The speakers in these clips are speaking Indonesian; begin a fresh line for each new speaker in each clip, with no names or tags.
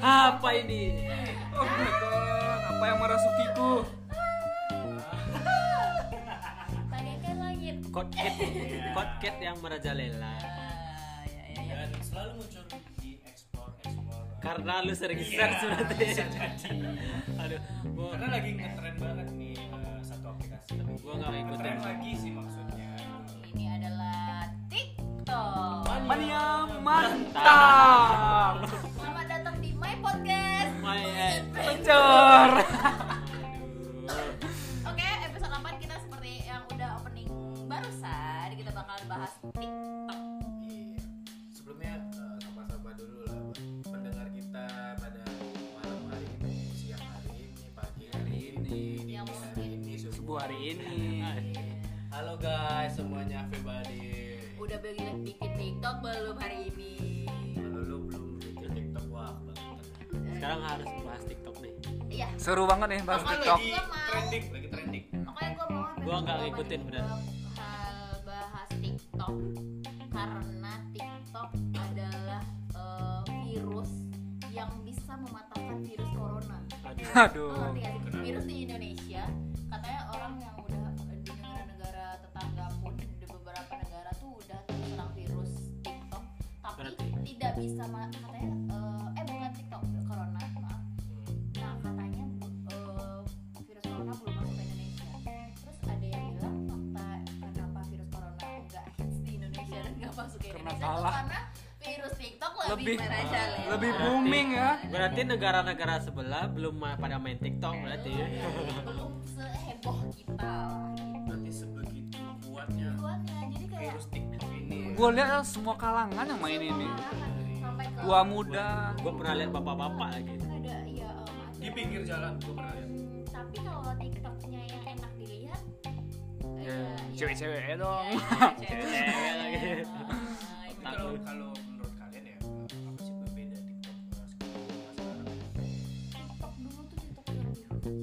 Apa ini? Oh my god, apa yang merasukiku?
bagaikan langit
Kotket, kotket yang merajalela.
Ah, ya, ya, ya.
dan selalu muncul di explore explore
Karena lu sering search berarti.
bisa jadi.
Aduh, gua
karena lagi ngetren banget nih eh, satu aplikasi
gua nggak ya. ikutin.
ngetren lagi sih maksudnya
ini adalah TikTok
Mania mantap.
selamat datang di my podcast
My end. Bocor.
Oke, episode 8 kita seperti yang udah opening barusan Kita bakal bahas TikTok
Iya. Sebelumnya eh, sapa-sapa dulu lah buat pendengar kita pada malam hari ini, siang hari ini, pagi hari ini, dini
Yang
hari ini,
Subuh
subuh.
hari ini.
Halo guys semuanya, everybody.
Udah beli bikin TikTok belum hari ini?
Kalau lu belum bikin TikTok wah banget.
Sekarang harus bahas TikTok nih.
Iya
Seru banget nih bahas
Apa
TikTok.
lagi
Gua mau.
trending, lagi trending.
Pokoknya gue mau
Gua nggak ngikutin, Bro.
Hal bahas TikTok Karena TikTok adalah eh, virus yang bisa mematahkan virus corona
Aduh.
Lo
Aduh.
ngerti gak sih? virus di Indonesia katanya orang yang udah di negara-negara tetangga pun di beberapa negara tuh udah terserang virus TikTok tapi
Berarti?
tidak bisa ma- katanya eh, eh bukan TikTok corona maaf
Hmm,
nah katanya eh, virus corona belum masuk ke Indonesia terus ada yang bilang fakta kenapa virus corona nggak hits di Indonesia dan nggak masuk ke
Karena
Indonesia tuh
kalah.
karena virus TikTok lebih Nah,
Lebih-
merajalela.
lebih booming ya.
Berarti negara-negara sebelah belum ma- pada main TikTok berarti. ya.
Iya, belum seheboh kita
Berarti sebegitu kuatnya
Tuannya, jadi kayak
virus TikTok ini.
Gue lihat semua kalangan yang main ini.
Iya.
ah, sampai ke
Tua muda.
Gue pernah lihat bapak-bapak lagi.
ada ya em, ada.
Di pinggir jalan gue pernah lihat.
Hmm, tapi kalau TikToknya yang enak dilihat eh,
Ya,
ya,
Cewek-cewek ya dong.
ya,
Cewek-cewek lagi.
Eh,
Tapi
Tahu.
kalau kalau menurut kalian ya apa sih berbeda TikTok eh, sekarang sama sekarang?
TikTok dulu tuh TikTok yang dihujat Iya.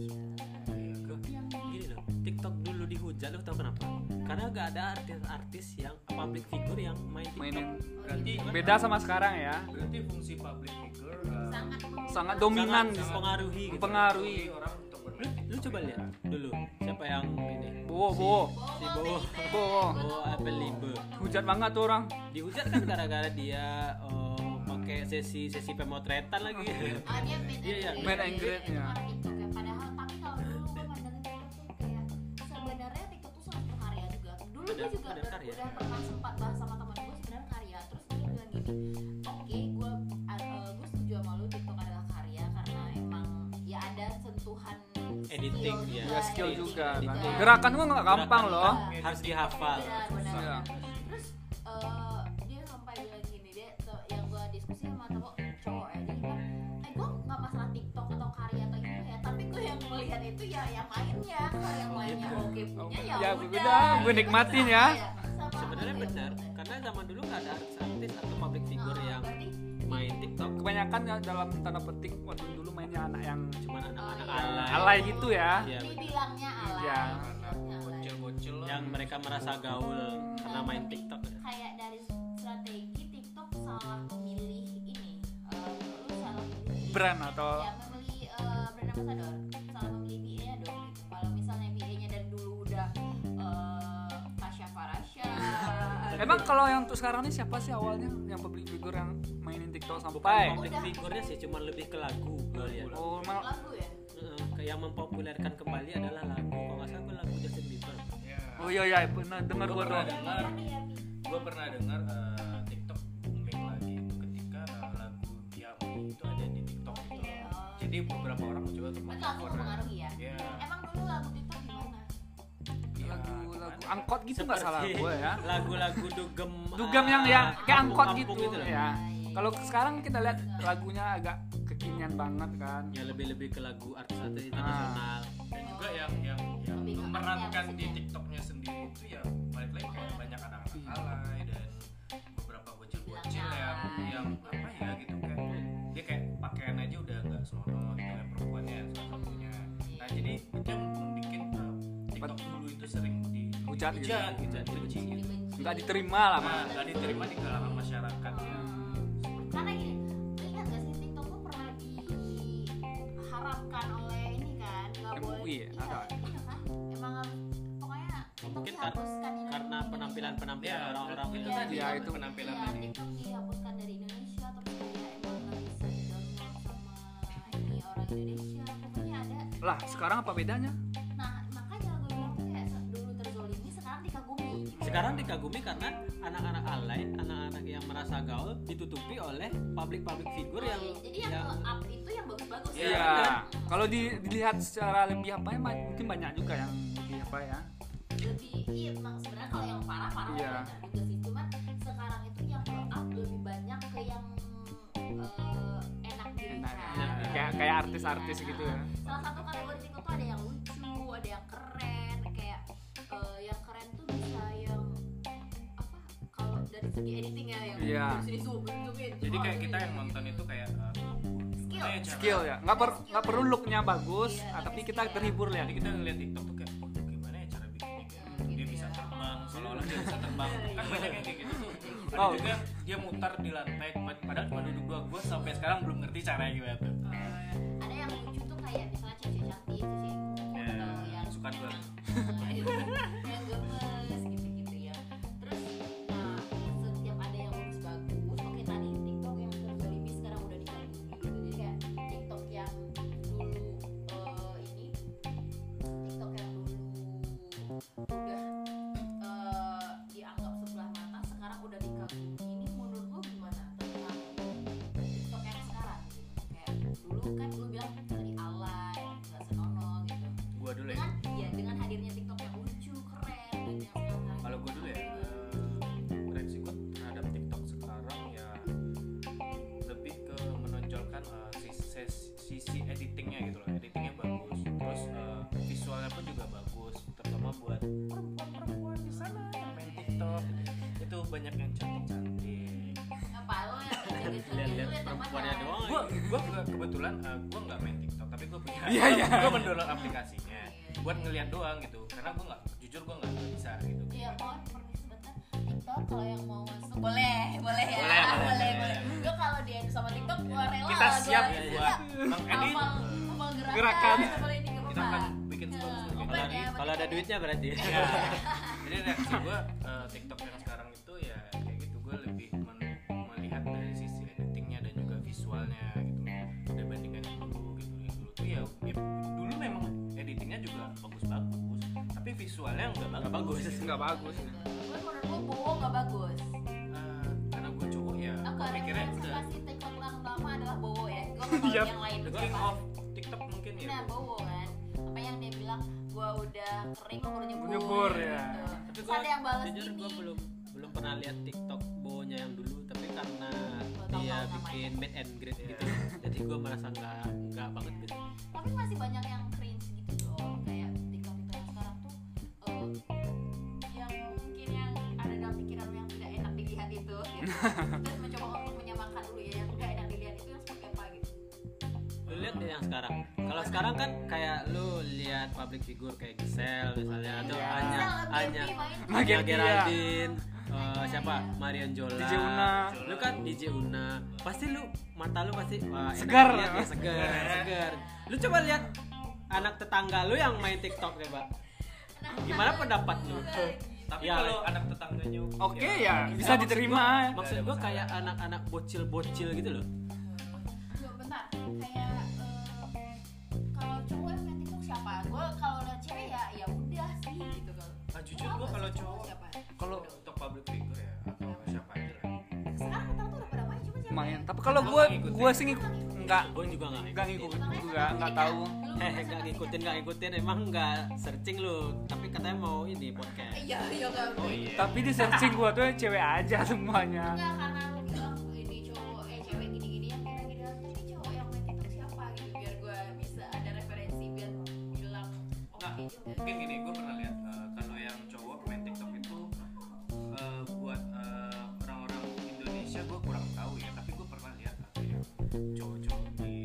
Iya,
yang
Gini loh, TikTok dulu dihujat lo tau kenapa? Karena gak ada artis-artis yang public figure yang main TikTok.
Mainin.
Berarti
Beda sama sekarang ya.
berarti fungsi public figure uh,
sangat
Sangat
mem-
dominan.
Sangat mempengaruhi gitu.
Mempengaruhi.
orang untuk
Lu,
bermain
lu coba lihat dulu siapa yang ini
Bowo, bowo.
si
Bobo,
Bowo
baby.
Bowo.
Bowo Apple Libre.
Hujat banget tuh orang.
dihujat kan gara-gara dia eh, pakai sesi sesi pemotretan lagi
Ah, dia main
Iya, iya.
and
Main
greet.
and greet-nya.
Orang TikTok ya. Padahal tapi kalau dulu gue mandangin TikTok tuh kayak sebenarnya TikTok tuh sangat berkarya juga. Dulu gue
Benar,
juga
benar
ber-
karya.
udah pernah sempat bahas sama teman gue sebenarnya karya. Terus dia bilang gini, oke gue gue setuju sama lu TikTok adalah karya karena emang ya ada sentuhan
Editing,
skill
ya.
juga,
Ya skill
editing
juga kan.
juga.
Gerakan gue nggak gampang
Gerakan.
loh.
Iya.
harus dihafal
Iya, benar.
Iya.
Terus eh, dia sampai bilang gini dia tuh, yang gua diskusi sama cowok cowok ya dia bilang, eh gua nggak masalah TikTok atau karya atau gimana ya, tapi gua yang melihat itu ya yang mainnya, kalau yang lainnya oke punya ya,
Oh, gitu. Ya,
udah.
udah, gua
Gitu,
nikmatin
sama
ya.
sama
sebenarnya
aja,
benar
bener.
karena zaman dulu nggak ada artis atau public figure
Nah,
yang
berarti,
main TikTok
Kebanyakan ya dalam tanda petik waktu dulu mainnya anak yang
cuman
oh,
anak-anak
iya.
alay
alay gitu ya.
Iya,
Ini bilangnya alay.
Iya.
bilangnya alay.
bocil-bocil lah
Ya.
yang mereka merasa gaul karena main TikTok
kayak dari strategi TikTok salah memilih ini eh, lu salah memilih
brand atau
ya memilih eh, brand ambassador salah memilih BA nya dong gitu. kalau misalnya BA nya dari dulu udah eh, Tasya Farasya
Iya.
Emang kalau yang untuk sekarang ini siapa sih awalnya yang public figure yang mainin TikTok
bukan
sampai?
public
Udah.
figure-nya sih cuman lebih ke lagu gue lihat
Oh, emang
lagu ya
Heeh, ke- yang mempopulerkan kembali adalah lagu kalau nggak salah gua lagu Justin Bieber
ya.
Oh iya iya benar dengar gua
Pernah
tuh.
dengar
Tapi ya, Bi,
gue pernah dengar eh, TikTok booming lagi itu ketika eh, lagu Yami itu ada di TikTok gitu
Oke,
Iya.
oh.
jadi beberapa orang mencoba untuk
berarti lagu
mengcover
mempengaruhi ya
ya
emang dulu lagu TikTok gimana
ya,
Lagu lagu
gimana?
angkot gitu nggak salah
Seperti
gua ya.
lagu-lagu dugem
Dugem yang
ah,
yang kayak angkot
kampung-kampung
gitu,
loh.
ya. Kalau sekarang kita lihat lagunya agak kekinian banget kan.
ya lebih-lebih ke lagu artis-artis
Ah.
internasional
dan juga yang yang yang
Lebih ke
memerankan
artnya
di
maksudnya.
Hmm.
TikToknya sendiri itu ya balik lagi kayak banyak anak-anak alay dan
ya gitu kan. ya, Nah,
Iya.
eh,
dihujat gitu
Hujat, hujat, dibenci. gitu.
Iya. nggak diterima lah Mas.
Nah, nggak diterima di kalangan masyarakat ya.
Hmm. karena gini lu ingat gak sih TikTok tuh pernah diharapkan oleh ini kan nggak boleh
MUI ya?
iya,
Ada.
iya kan emang pokoknya TikTok
Mungkin kar-
dihapuskan di
karena
Indonesia.
penampilan penampilan
Ya,
orang-orang gitu.
itu
itu
Iya,
tadi
iya, itu.
penampilan
Iya,
tadi.
TikTok dihapuskan dari Indonesia terus kayak emang nggak bisa di-download sama ini orang Indonesia pokoknya ada
lah sekarang apa bedanya
nah makanya gue bilang tuh kayak dulu terzolimi sekarang dikagumi
sekarang dikagumi karena anak-anak alay anak-anak yang merasa gaul ditutupi oleh public-public figure yang
Oh, iya. jadi yang up itu yang bagus-bagus ya.
Iya.
ya. Iya. Kalau di- dilihat secara lebih apa ya, ma- mungkin banyak juga yang lebih apa ya.
lebih iya emang sebenarnya kalau yang parah parah
Iya.
yeah. juga sih cuman sekarang itu yang blow up lebih banyak ke yang eh, enak diri
Enak,
kan.
enak
Iya.
diri. Kayak- kayak artis-artis
Iya.
gitu ya.
salah satu kategori TikTok tuh ada yang lucu ada yang keren kayak eh, yang keren tuh bisa yang apa kalau dari segi editing ya yang
Iya.
dari sini zoom zoomin
Jadi
zoom
kayak
out,
kita
zoom
yang
in.
nonton itu kayak eh,
skill
eh, cara-
Skill ya. Nggak per, nggak perlu looknya bagus,
Iya,
ah, tapi
tapi
kita
skill.
terhibur lihat.
Jadi Ya, kita ngeliat TikTok tuh kayak "Waduh, gimana ya cara bikinnya kayak
Hmm, gitu
dia bisa
ya.
terbang seolah-olah dia bisa terbang kan banyak yang kayak gitu tuh. Ada
Oh.
juga dia mutar di lantai pad- padahal cuma duduk dua gue sampai sekarang belum ngerti caranya gimana tuh.
Eh, ada yang lucu tuh kayak misalnya cewek cantik cewek
Ya,
atau yang
suka gue.
yang gemes gitu-gitu ya terus nah setiap ada yang bagus-bagus oke tadi TikTok yang terzalimi sekarang udah dikagumi gitu jadi kayak TikTok yang dulu eh, ini TikTok yang dulu udah eh, dianggap sebelah mata sekarang udah dikagumi ini menurut lo gimana tentang TikTok yang sekarang gitu kayak dulu kan lu bilang tadi alay nggak senonoh gitu
Gue dulu ya.
dengan iya dengan hadirnya TikTok yang lucu keren dan yang sekarang
Kalau gue dulu ya eh, reaksi gue terhadap TikTok sekarang ya lebih ke menonjolkan eh, sis- sis- sisi editingnya gitu loh. Editingnya bagus, terus eh, visualnya pun juga bagus, terutama buat perempuan-perempuan di sana yang main TikTok itu banyak yang cantik-cantik.
apa lo yang jadi ya,
lihat-lihat perempuannya doang
Gue gue kebetulan gue nggak main TikTok, tapi gue punya
Iya, iya.
gue mendownload aplikasinya ya. buat ngeliat doang gitu. Karena gue nggak jujur gue nggak nggak bisa gitu.
Iya, mohon permisi sebentar. TikTok kalau yang mau masuk boleh, boleh ya.
Boleh, boleh,
boleh.
boleh. Iya.
boleh. Gue kalau dia sama TikTok gue rela.
Kita
gua
siap
siap.
buat mengedit.
Hafal, hafal gerakan.
Gerakan.
Boleh ini Iya, nggak
Kita
apa-apa.
akan bikin sebagus mungkin.
kalau
ya,
ada, kalau ada duitnya berarti
Ya. Jadi reaksi gue TikTok yang sekarang itu ya kayak gitu gue lebih men- melihat dari sisi editingnya dan juga visualnya gitu dibandingkan yang dulu gitu yang dulu tuh ya, ya dulu memang editingnya juga bagus-bagus tapi visualnya nggak bagus,
nggak bagus Iya.
Nggak bagus.
Gue
ya.
gitu. menurut gue bohong nggak bagus.
Eh, karena gue cowok ya
Aku
gue mikirnya udah
referensi TikTok yang utama adalah bowo ya. Gue kalau
Iya.
yang lain
the
dulu
king of TikTok mungkin ya
Nah, bowo kan. Apa yang dia bilang gua udah kering gua baru nyebur.
Nyebur, ya.
Gitu.
tapi
Terus
gua
ada yang balas
jujur
gini.
gue belum belum pernah lihat TikTok bonya yang dulu tapi karena
tahu
dia
namanya.
bikin meet and greet
Iya.
gitu jadi gue merasa nggak nggak banget gitu
Tapi masih banyak yang cringe gitu loh. Kayak TikTok TikTok yang sekarang tuh eh, yang mungkin yang ada dalam pikiran yang tidak enak dilihat itu gitu. Terus mencoba untuk menyamakan dulu ya yang tidak enak dilihat itu yang seperti apa gitu.
lu lihat deh yang sekarang kalau sekarang kan kayak lu lihat public figure kayak Gisel misalnya atau
Iya.
Anya
Giselle,
Anya
Devi main.
Anya
Makin dia.
Geraldine eh, siapa
Iya.
Marion Jola
DJ Una.
lu kan DJ Una pasti lu mata lu pasti wah, enak
Segar.
dilihat nih, segar segar lu coba lihat anak tetangga lu yang main TikTok coba
Nah,
gimana pendapat lu
Iya.
tapi
Ya.
kalau anak tetangganya
Oke
Iya.
ya,
ya, bisa
Maksud
diterima.
gua- maksud gue kayak anak-anak bocil-bocil gitu loh
Tunggu bentar kayak eh, kalau cowok yang main TikTok siapa? Gue kalau lihat cewek ya ya udah sih gitu kalau.
Ah, jujur
Lu
gue
apa
kalau
sih
cowok
siapa? Ya,
kalau untuk public figure ya atau siapa aja lah
Sekarang tentang tuh udah pada main cuma cewek.
Lumayan. Tapi kalau gue gue sih ngikut nggak
gue juga nggak
nggak ngikut juga
kan
nggak tahu.
eh nggak ngikutin nggak ngikutin emang nggak searching lu tapi katanya mau ini podcast
Iya iya kan.
oh iya
Tapi di searching gue tuh cewek aja semuanya.
Enggak karena lu bilang ini cowok eh cewek gini-gini yang gini gini tapi cowok yang main TikTok siapa gitu biar gue bisa ada referensi biar bilang "Oh, iya, oke
Nah,
juga.
mungkin gini gue pernah lihat eh, kalau yang cowok main TikTok itu eh, buat eh, orang-orang Indonesia gue kurang tahu ya tapi gue pernah lihat ada yang cowok-cowok di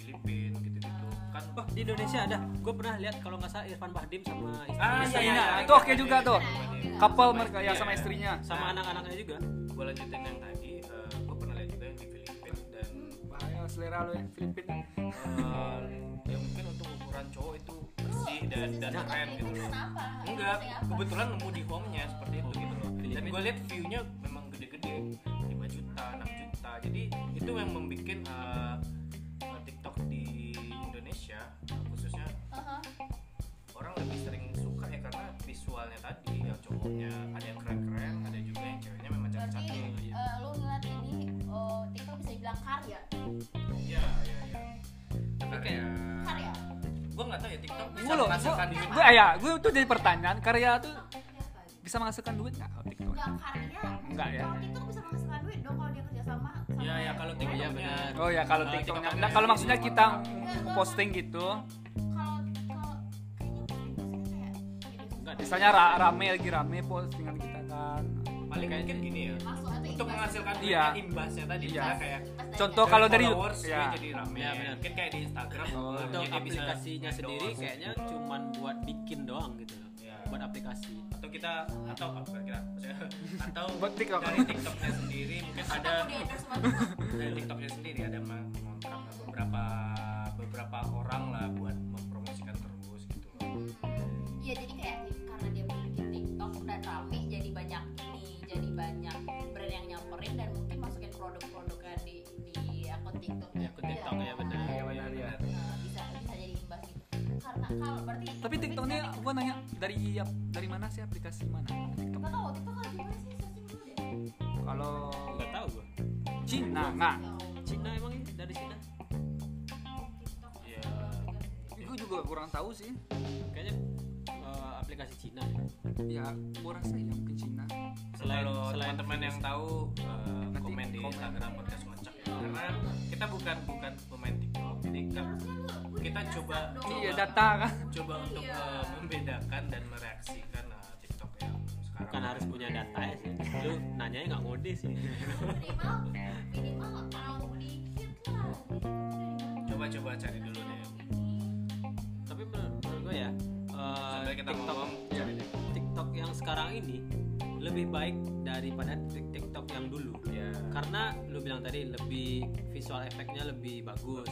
Filipina gitu-gitu kan bah
Oh,
di di Indonesia ada gue pernah lihat kalau nggak salah Irfan Bahdim sama Nah,
Ah,
istrinya
iya,
Istrinya,
iya,
itu
iya,
oke
iya,
juga
iya,
tuh.
iya, iya.
Couple
Sama
mereka ya
istrinya.
sama istrinya.
sama anak-anaknya juga
gue lanjutin yang tadi eh, gue pernah lihat juga yang di Filipina dan
Bahaya selera lu ya, Filipina.
eh, ya mungkin untuk ukuran cowok itu bersih dan dan keren gitu loh
Kenapa?
enggak kebetulan nemu di home-nya seperti itu gitu
Oh,
loh
iya.
dan gue lihat view-nya memang gede-gede 5 juta 6 juta jadi itu yang membuat eh, eh, TikTok di Indonesia eh, khususnya
Aha.
orang lebih sering suka ya karena visualnya tadi yang cowoknya ada yang keren-keren ada juga yang ceweknya memang Iya,
Berarti
cantik-cantik
eh, lu ngeliat ini eh, TikTok bisa dibilang ya? karya.
iya iya iya tapi kayak
Karya.
gue nggak tahu ya TikTok bisa
Gue ya. loh,
menghasilkan duit
gue ya, gue tuh jadi pertanyaan karya tuh bisa menghasilkan duit nggak kalau TikTok?
Enggak karya.
Enggak ya.
Kalau TikTok bisa menghasilkan duit dong kalau dia kerja sama. sama
ya ya
Iya,
kalau TikToknya
benar.
Oh ya kalau
Eh,
TikToknya,
TikTok
nah, kalau maksudnya kita
Enggak,
posting gitu,
kalau kalau kayaknya posting biasanya kayak gitu. video
Enggak deh.
misalnya ra- rame lagi rame postingan kita kan.
paling mungkin gini ya
masuk atau
untuk
imbas.
menghasilkan duit
Iya.
imbasnya tadi
Iya.
misalnya kayak
Imbas dari
Contoh
apa?
kalau dari
followers dia
ya.
jadi rame
Iya, benar.
mungkin kayak di Instagram
Oh,
followernya
untuk
dia bisa
aplikasinya
endorse.
sendiri kayaknya cuman buat bikin doang gitu loh
Iya.
buat aplikasi
atau kita atau apa kita maksudnya atau
Buat TikTok.
dari TikToknya sendiri mungkin
Kita
ada
mau diatur semuanya.
dari TikToknya sendiri ada ma- mengontrak beberapa beberapa orang lah buat mempromosikan terus gitu loh.
Iya jadi kayak karena dia bikin TikTok dan rame jadi banyak ini jadi banyak brand yang nyamperin dan mungkin masukin produk-produknya di di akun TikTok.
Di akun TikTok, ya, benar.
Iya, benar, iya.
Nah, bisa bisa jadi imbas gitu. Karena kalau berarti
Tapi TikTok ini gue nanya dari dari mana sih aplikasi mana? TikTok.
Enggak tahu TikTok kan gimana sih searching dulu deh.
Kalau
nggak tahu gue
Cina nggak?
Ya Allah.
Nah, Cina emang ini dari Cina
TikTok.
Iya.
Gue juga kurang tahu sih.
kayaknya eh, aplikasi Cina
Ya gue rasa ya mungkin Cina.
Selain-
kalau
selain
teman-teman yang tahu eh,
Nanti
komen di
komen.
Instagram podcast ngocak ya. karena kita bukan bukan pemain TikTok jadi kita, kita coba
Iya
coba,
data kan.
coba untuk eh, membedakan dan mereaksikan eh, TikTok yang sekarang
bukan harus punya data ya sih lu nanya nggak ngode sih
Minimal minimal tahu dikit lah.
coba-coba cari dulu deh
tapi menurut, gue ya eh,
sampai kita
TikTok ya,
ngomong
Iya.
TikTok yang sekarang ini lebih baik daripada Tik- TikTok yang dulu
ya
karena lu bilang tadi lebih visual efeknya lebih bagus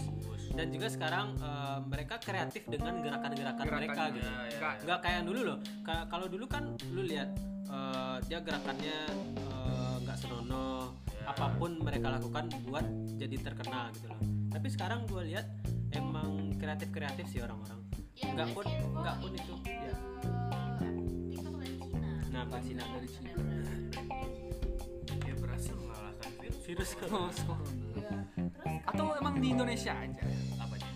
dan juga sekarang eh, mereka kreatif dengan gerakan-gerakan mereka
Gerakannya.
gitu
Nggak.
nggak kayak yang dulu loh Ka- kalau dulu kan lu lihat eh, dia gerakannya eh, nggak senonoh
Ya.
apapun mereka lakukan buat jadi terkenal gitu loh tapi sekarang gue lihat emang kreatif kreatif sih orang-orang
Ya,
nggak pun nggak pun itu ya
kan, eh, TikTok dari Cina.
nah Cina
dari Cina.
dia berhasil mengalahkan virus
virus
Terus corona. Atau emang di Indonesia aja?
apa aja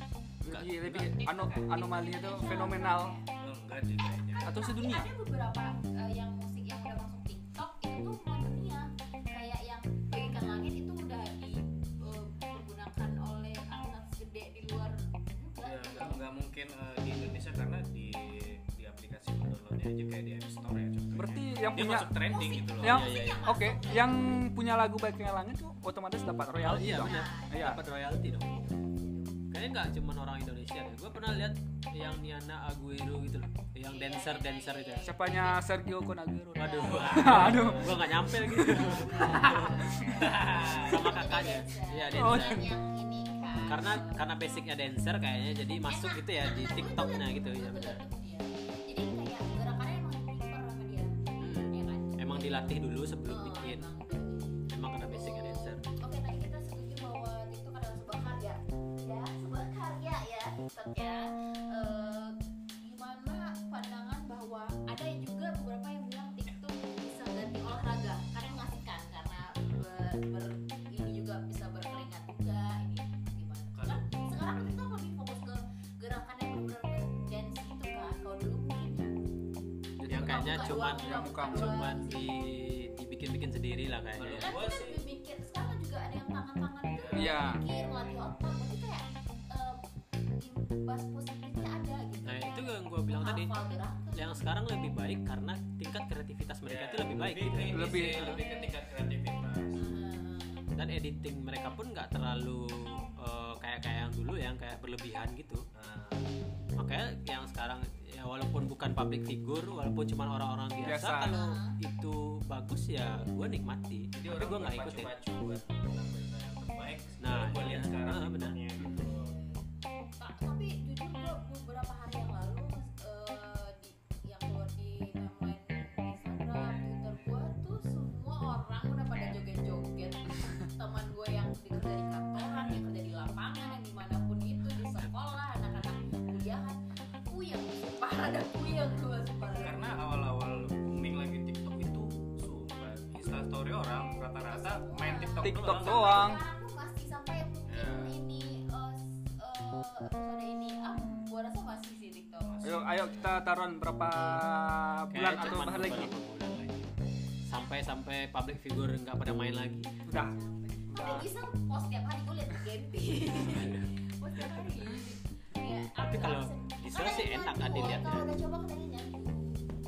Iya, Lebih
Iya,
lebih ano- anomali itu fenomenal
enggak sih kayaknya
atau sedunia?
kan Ada beberapa eh, yang musik yang udah masuk TikTok itu tuh semua dunia. Kayak yang bagikan langit itu udah dipergunakan oleh artis gede di luar juga.
ya nggak nggak mungkin eh, di Indonesia karena di di aplikasi downloadnya aja kayak di App Store ya contohnya
Berarti yang
dia
punya
masuk trending gitu loh
yang
Iya, iya, iya.
oke yang punya lagu baik yang langit tuh otomatis dapat
Oh,
royalti
iya
dong.
benar.
Iya.
Dapat royalti dong. Kayaknya nggak cuma orang Indonesia deh. Gue pernah lihat yang Niana Aguero gitu loh,
Iya,
yang dancer dancer itu. ya.
Siapanya Sergio Conagero?
Waduh.
Aduh.
Gue nggak nyampe lagi. Sama kakaknya. Iya
Oh.
dancer.
Dan kan yang ini kan.
Karena karena basicnya dancer kayaknya jadi masuk gitu ya di TikToknya
kan
gitu ya benar.
Iya. Jadi kayak gerakannya emang diper sama dia.
Hmm.
Ya kan?
Emang dilatih dulu sebelum
Oh,
bikin.
emang udah gitu.
Emang karena basicnya dancer.
Oke, tadi kita setuju bahwa TikTok adalah sebuah karya. Ya, sebuah karya ya TikTok ya. Eh, gimana pandangan bahwa ada juga beberapa yang bilang TikTok bisa ganti olahraga karena mengasihkan karena ber, ber- ini juga bisa berkeringat juga ini gimana? Kan sekarang TikTok lebih fokus ke gerakan yang benar-benar dance gitu kan. Kalau dulu mungkin
Yang kayaknya
buka
cuman
doang,
yang
buka
muka-
doang
cuman
sih.
di dibikin-bikin sendiri lah kayaknya.
kan kita lebih mikir sekarang juga ada yang tangan-tangan itu
Iya.
mikir melatih otak berarti kayak eh, imbas positifnya ada gitu
Nah itu yang gue bilang tadi.
Hafal gerakan.
yang sekarang lebih baik karena tingkat kreativitas mereka itu lebih baik gitu.
Iya, lebih
Lebih-
lebih, lebih ke tingkat kreativitas
Eh,
dan editing mereka pun nggak terlalu eh, kayak kayak kayak yang dulu yang kayak berlebihan gitu
Nah,
makanya yang sekarang ya walaupun bukan public figure walaupun cuma orang-orang biasa,
Biasa.
kalau itu bagus ya gue nikmati
jadi
tapi
orang
gue nggak ikutin
pacu buat pemerintah yang terbaik
Nah,
nah gue
iya.
lihat sekarang
Ah, benar.
benarnya gitu
Ta- tapi jujur gue beberapa hari yang lalu eh, di yang keluar di timeline Instagram, Twitter gue tuh semua orang udah pada joget-joget. Teman gue yang kerja di kantoran, yang kerja di lapangan, yang dimanapun itu di sekolah, anak-anak kuliahan, kuyang sumpah ada kuyang gue sumpah. ada
karena awal-awal booming lagi TikTok itu sumpah instastory orang rata-rata main TikTok,
TikTok
doang.
doang.
Sekarang tuh masih sampai yang mungkin
Ya.
ini eh, s- eh, episode ini ah gue rasa masih sih TikTok.
Ayo, ayo kita taruhan berapa bulan
Kayaknya
atau
cuman
bahkan lagi.
beberapa bulan lagi. sampai sampai public figure nggak pada main lagi
Udah.
Tapi bisa post tiap hari gue liat Gempi Post tiap hari Ya,
Tapi
aku
kalau
absen.
Gisel
Karena
sih
itu
enak
aku,
kan dilihatnya.
Kalau udah coba katanya nyatu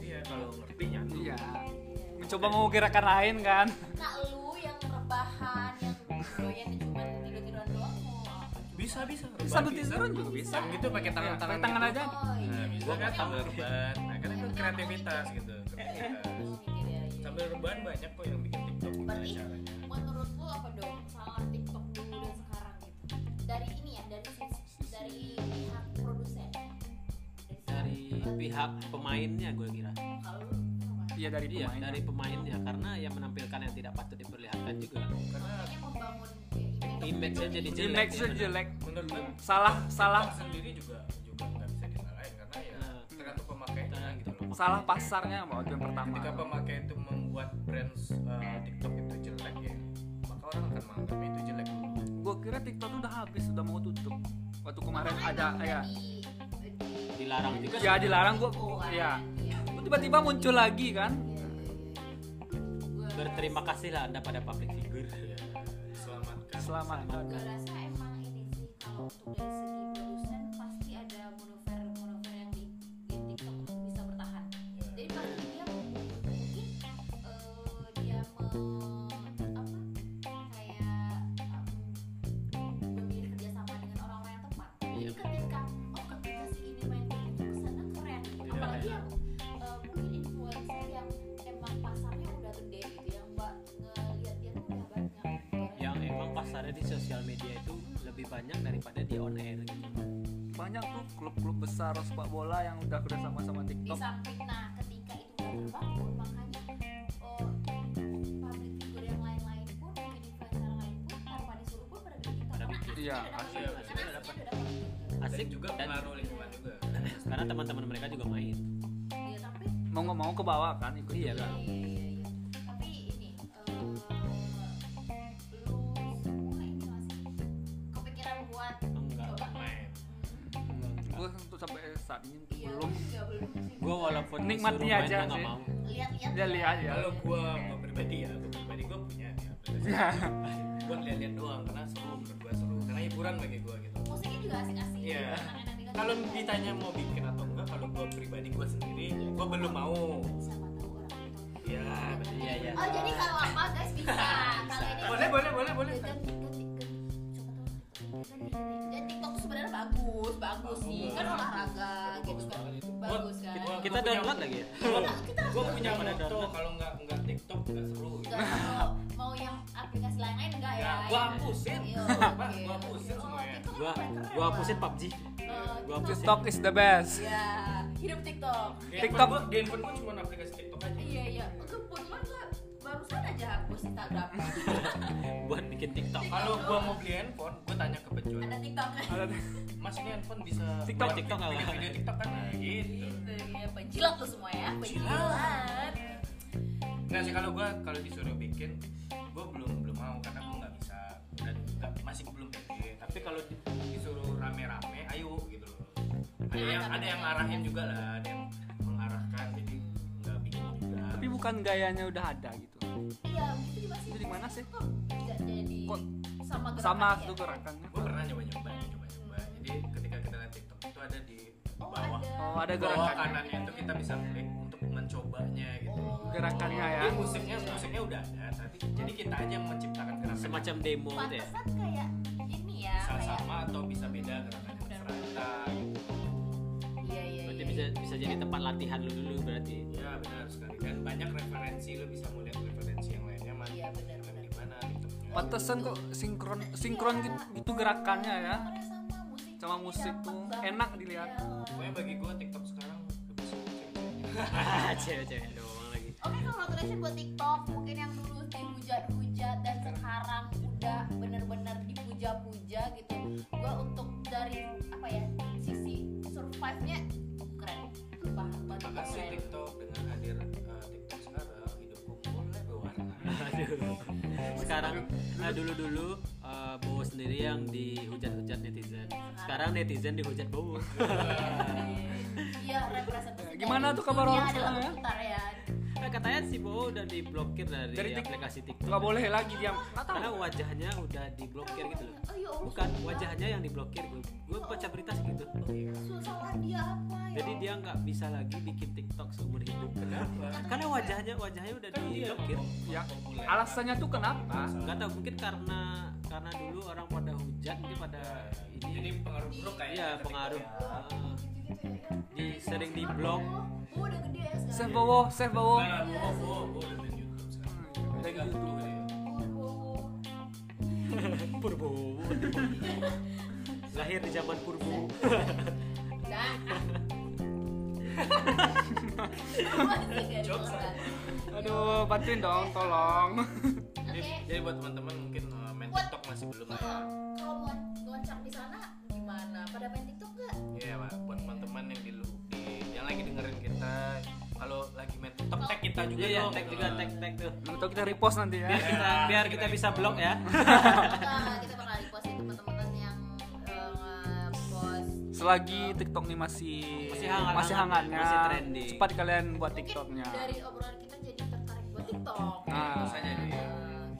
iya kalau ngerti nyatu
Iya. Mencoba mengukir akan lain kan.
Nah lu yang rebahan Yang doyannya cuma tidur-tiduran doang mau apa coba?
bisa bisa
Bisa tiduran juga bisa. Iya,
bisa gitu pakai tangan-tangan
Pakai tangan
gitu.
aja.
Oh iya
nah, bisa
Gua
kan
nggak
sambil
tahu.
rebahan nah kan itu kreativitas gitu kreativitas
Lu mikir ya, iya.
sambil rebahan banyak kok yang bikin TikTok gitu gimana
Berarti-
caranya
Menurut lu apa dong salah TikTok dulu dan sekarang gitu Dari ini ya dari sisi- dari pihak produsen
dari pihak pemainnya gue kira
Kalau lu kenapa?
Iya dari
iya
pemain.
dari pemainnya karena yang menampilkan yang tidak patut diperlihatkan juga
karena
Makanya membangun ya,
image-nya jadi jelek
Jelek
ya, benar.
sejelek.
menurut gue
Salah salah
TikTok sendiri juga juga nggak bisa disalahin karena ya
Nah,
tergantung pemakainya
nah,
gitu loh
salah pasarnya mau yang pertama.
ketika pemakai itu membuat brand uh, TikTok itu jelek ya maka orang akan menganggapnya itu jelek dulu
Gue kira TikTok tuh udah habis, udah mau tutup. Waktu kemarin
Makanya
ada
udah
ya.
eh, di- di-
dilarang juga
Ya dilarang gue, ya.
Iya.
Gua Tiba-tiba muncul lagi kan.
iya.
berterima kasih lah anda pada public figure
ya selamatkan
Selamat.
Gue rasa emang ini sih kalau untuk dari segi produsen pasti ada monover monover yang di, di TikTok untuk bisa bertahan. Jadi pasti dia mungkin eh, dia me, apa kayak em, memilih kerjasama dengan orang-orang yang tepat. Jadi
Iya.
ketika oh ketika si ini main TikTok sana keren, apalagi yang eh, mungkin influencer yang emang pasarnya udah gede gitu yang mbak ngeliat dia tuh udah banyak.
yang emang pasarnya di sosial media itu lebih banyak daripada di on air gitu.
Banyak tuh klub-klub besar sepak bola yang udah udah sama-sama
di
TikTok.
samping nah ketika itu udah terbangun makanya oh, public figure yang lain-lain pun mungkin influencer lain pun tanpa disuruh pun pada bikin
Pada
TikTok
bikin.
Iya,
karena
asli,
aslinya udah
asli
dapat
udah
karena aslinya
dapet.
udah dapat
asik
dan juga
dan
pengaruh lingkungan juga
karena teman-teman mereka juga main
ya tapi
Mau nggak mau ke bawah kan ikut
Iya,
juga.
kan?
iya, iya, iya, iya. tapi ini eh, lu semua ini masih kepikiran buat
enggak
coba
main
Gue untuk sampai saat ini tuh
Iya,
belum.
juga belum sih.
gue walaupun
Nikmati
disuruh main,
aja
gua nggak
sih.
mau
lihat-lihat
Ya lihat ya.
kalau gua gua pribadi ya gua pribadi gua punya ya aplikasi. gua lihat-lihat doang karena seru menurut gua seru karena hiburan bagi gua gitu
musiknya juga asik-asik
Iya.
anak-anak di
kalau
kantor.
ditanya mau bikin atau enggak kalau gua pribadi gua sendiri gua belum mau
siapa tahu orang itu
ya berarti
iya iya
Oh jadi kalau apa guys bisa. Kalau ini
boleh boleh boleh boleh
Dan- dan- dan- dan- dan TikTok tuh sebenarnya bagus, bagus sih. Kan olahraga gitu kan. Bagus kan.
Gua-
kita
punya-
download lagi ya
Kita
gua punya
Pada
moto
download.
kalau nggak nggak TikTok nggak seru gitu.
nggak mau- mau yang aplikasi lain-lain enggak ya?
Ya, gua hapusin.
Iya,
Apa?
oke,
Gua
oke.
hapusin
Oh,
semuanya.
TikTok
gua
keren, keren,
gua hapusin
Pak.
PUBG
Eh,
Gua
TikTok.
hapusin.
TikTok is the best.
Ya, hidup TikTok.
TikTok.
Handphone gua- di handphone gua cuma aplikasi TikTok aja
Iya, iya. Kebun mah gua barusan aja hapus Instagram.
buat bikin TikTok
kalau gua mau beli handphone gua tanya ke penjual
Ada TikTok.
mas ini handphone bisa
TikTok,
buat
TikTok
bikin
apa?
video TikTok kan nah, gitu
Gitu ya, penjilat tuh semua ya.
Penjilat.
Penjilat.
nggak sih kalau gua kalau disuruh bikin gua belum belum mau karena gua nggak bisa dan nggak, masih belum pede tapi kalau di- disuruh rame-rame ayo gitu loh ada yang ada yang ngarahin juga lah ada yang mengarahkan jadi nggak bikin juga
Tapi bukan gayanya udah ada gitu.
Iya, itu juga sih.
Itu di mana sih?
Kok nggak jadi
Kok
sama
Sama
gerakannya
tuh
ya?
gerakannya.
gue pernah nyoba nyoba nyoba nyoba jadi ketika kita lihat tiktok itu ada di
Oh,
bawah
ada.
Oh, ada
bawah
gerakan.
kanannya itu kita bisa klik untuk mencobanya gitu
Oh.
Gerakannya ya.
Jadi musiknya musiknya udah ada tapi jadi kita aja yang menciptakan gerakan
semacam demo gitu ya
Pantesan kayak ini ya ya,
bisa
kayak-
sama atau bisa beda gerakannya terserah kita gitu.
iya iya
berarti
iya,
bisa
iya.
bisa jadi tempat latihan lu dulu berarti
ya benar sekali dan banyak referensi lo bisa melihat referensi yang lainnya mana
Iya, benar, benar.
di mana gitu.
Pantesan kok sinkron sinkron gitu itu gerakannya ya.
Karena sama musik
Sama musik
dapat
tuh
banget.
enak dilihat.
Iya.
Pokoknya bagi gue TikTok sekarang lebih seru cewek-cewek.
Ah, cewek-cewek doang lagi
Oke, congratulations buat TikTok. Mungkin yang dulu dihujat-hujat dan sekarang udah bener-bener dipuja-puja gitu. Gua untuk dari apa ya sisi survive-nya keren. Bah, banget
Terima kasih
keren.
TikTok dengan hadir eh, TikTok sekarang hidupku mulai berwarna.
Aduh. Sekarang eh, dulu-dulu eh, Bowo sendiri yang dihujat-hujat netizen. Sekarang netizen dihujat Bowo.
Iya, representasi.
Gimana
dari
tuh kabar
dunia
orang
adalah
sekarang ya?
putar ya?
Eh, katanya si Bowo udah diblokir dari,
Dari Tik-
aplikasi TikTok.
Gak boleh lagi dia. Nggak tahu.
Karena wajahnya udah diblokir gitu loh.
Oh, ya Allah,
Bukan
susah.
wajahnya yang diblokir. Gue baca berita gitu.
Susah dia apa ya?
Jadi dia nggak bisa lagi bikin TikTok seumur hidup. Kenapa? Karena wajahnya wajahnya udah diblokir.
Ya alasannya tuh kenapa?
Gak tau mungkin karena karena dulu orang pada hujat mungkin pada
Jadi
ini
pengaruh buruk kayaknya.
Iya
ke TikTok
pengaruh.
ya.
Eh, di sering di blog
Gua Oh, udah gede ya
Chef
sekarang.
Bowo, Chef Bowo.
Nah, gua gua gua udah dari YouTube sekarang. Udah gak butuh deh.
oh, Bowo.
Purbo lahir di zaman Purbo
Dah. Masih gak
Jokes.
dikeluarkan.
Aduh, bantuin dong, tolong.
Oke.
Jadi- Jadi buat teman-teman mungkin eh, main
Buat-
TikTok masih belum ada.
Kalau kalau mau loncat di sana gimana? Pada main TikTok gak?
Iya, Pak. Buat teman-teman yang di lu di yang lagi dengerin kita kalau lagi main TikTok tag kita juga
iya ya
dong.
tag juga tag tag tuh
Nanti kita repost nanti ya.
biar kita biar kita bisa blog ya
Nah, kita bakal repost ya teman-teman yang eh, nge-post.
Selagi TikTok nih masih
Masih hangat-
masih hangatnya,
masih trending.
Cepat kalian buat
Mungkin
TikToknya.
dari obrolan kita jadi tertarik buat TikTok.
Nah.
Misalnya dia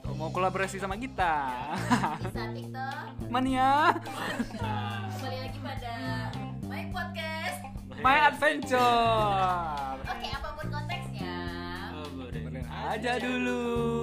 Tuh, mau kolaborasi sama kita.
Eh, bisa TikTok.
Mania,
Nah.
Kembali lagi pada My Podcast.
my adventure.
Oke, apapun konteksnya.
oh, boleh.
Keren aja dulu.
Ah!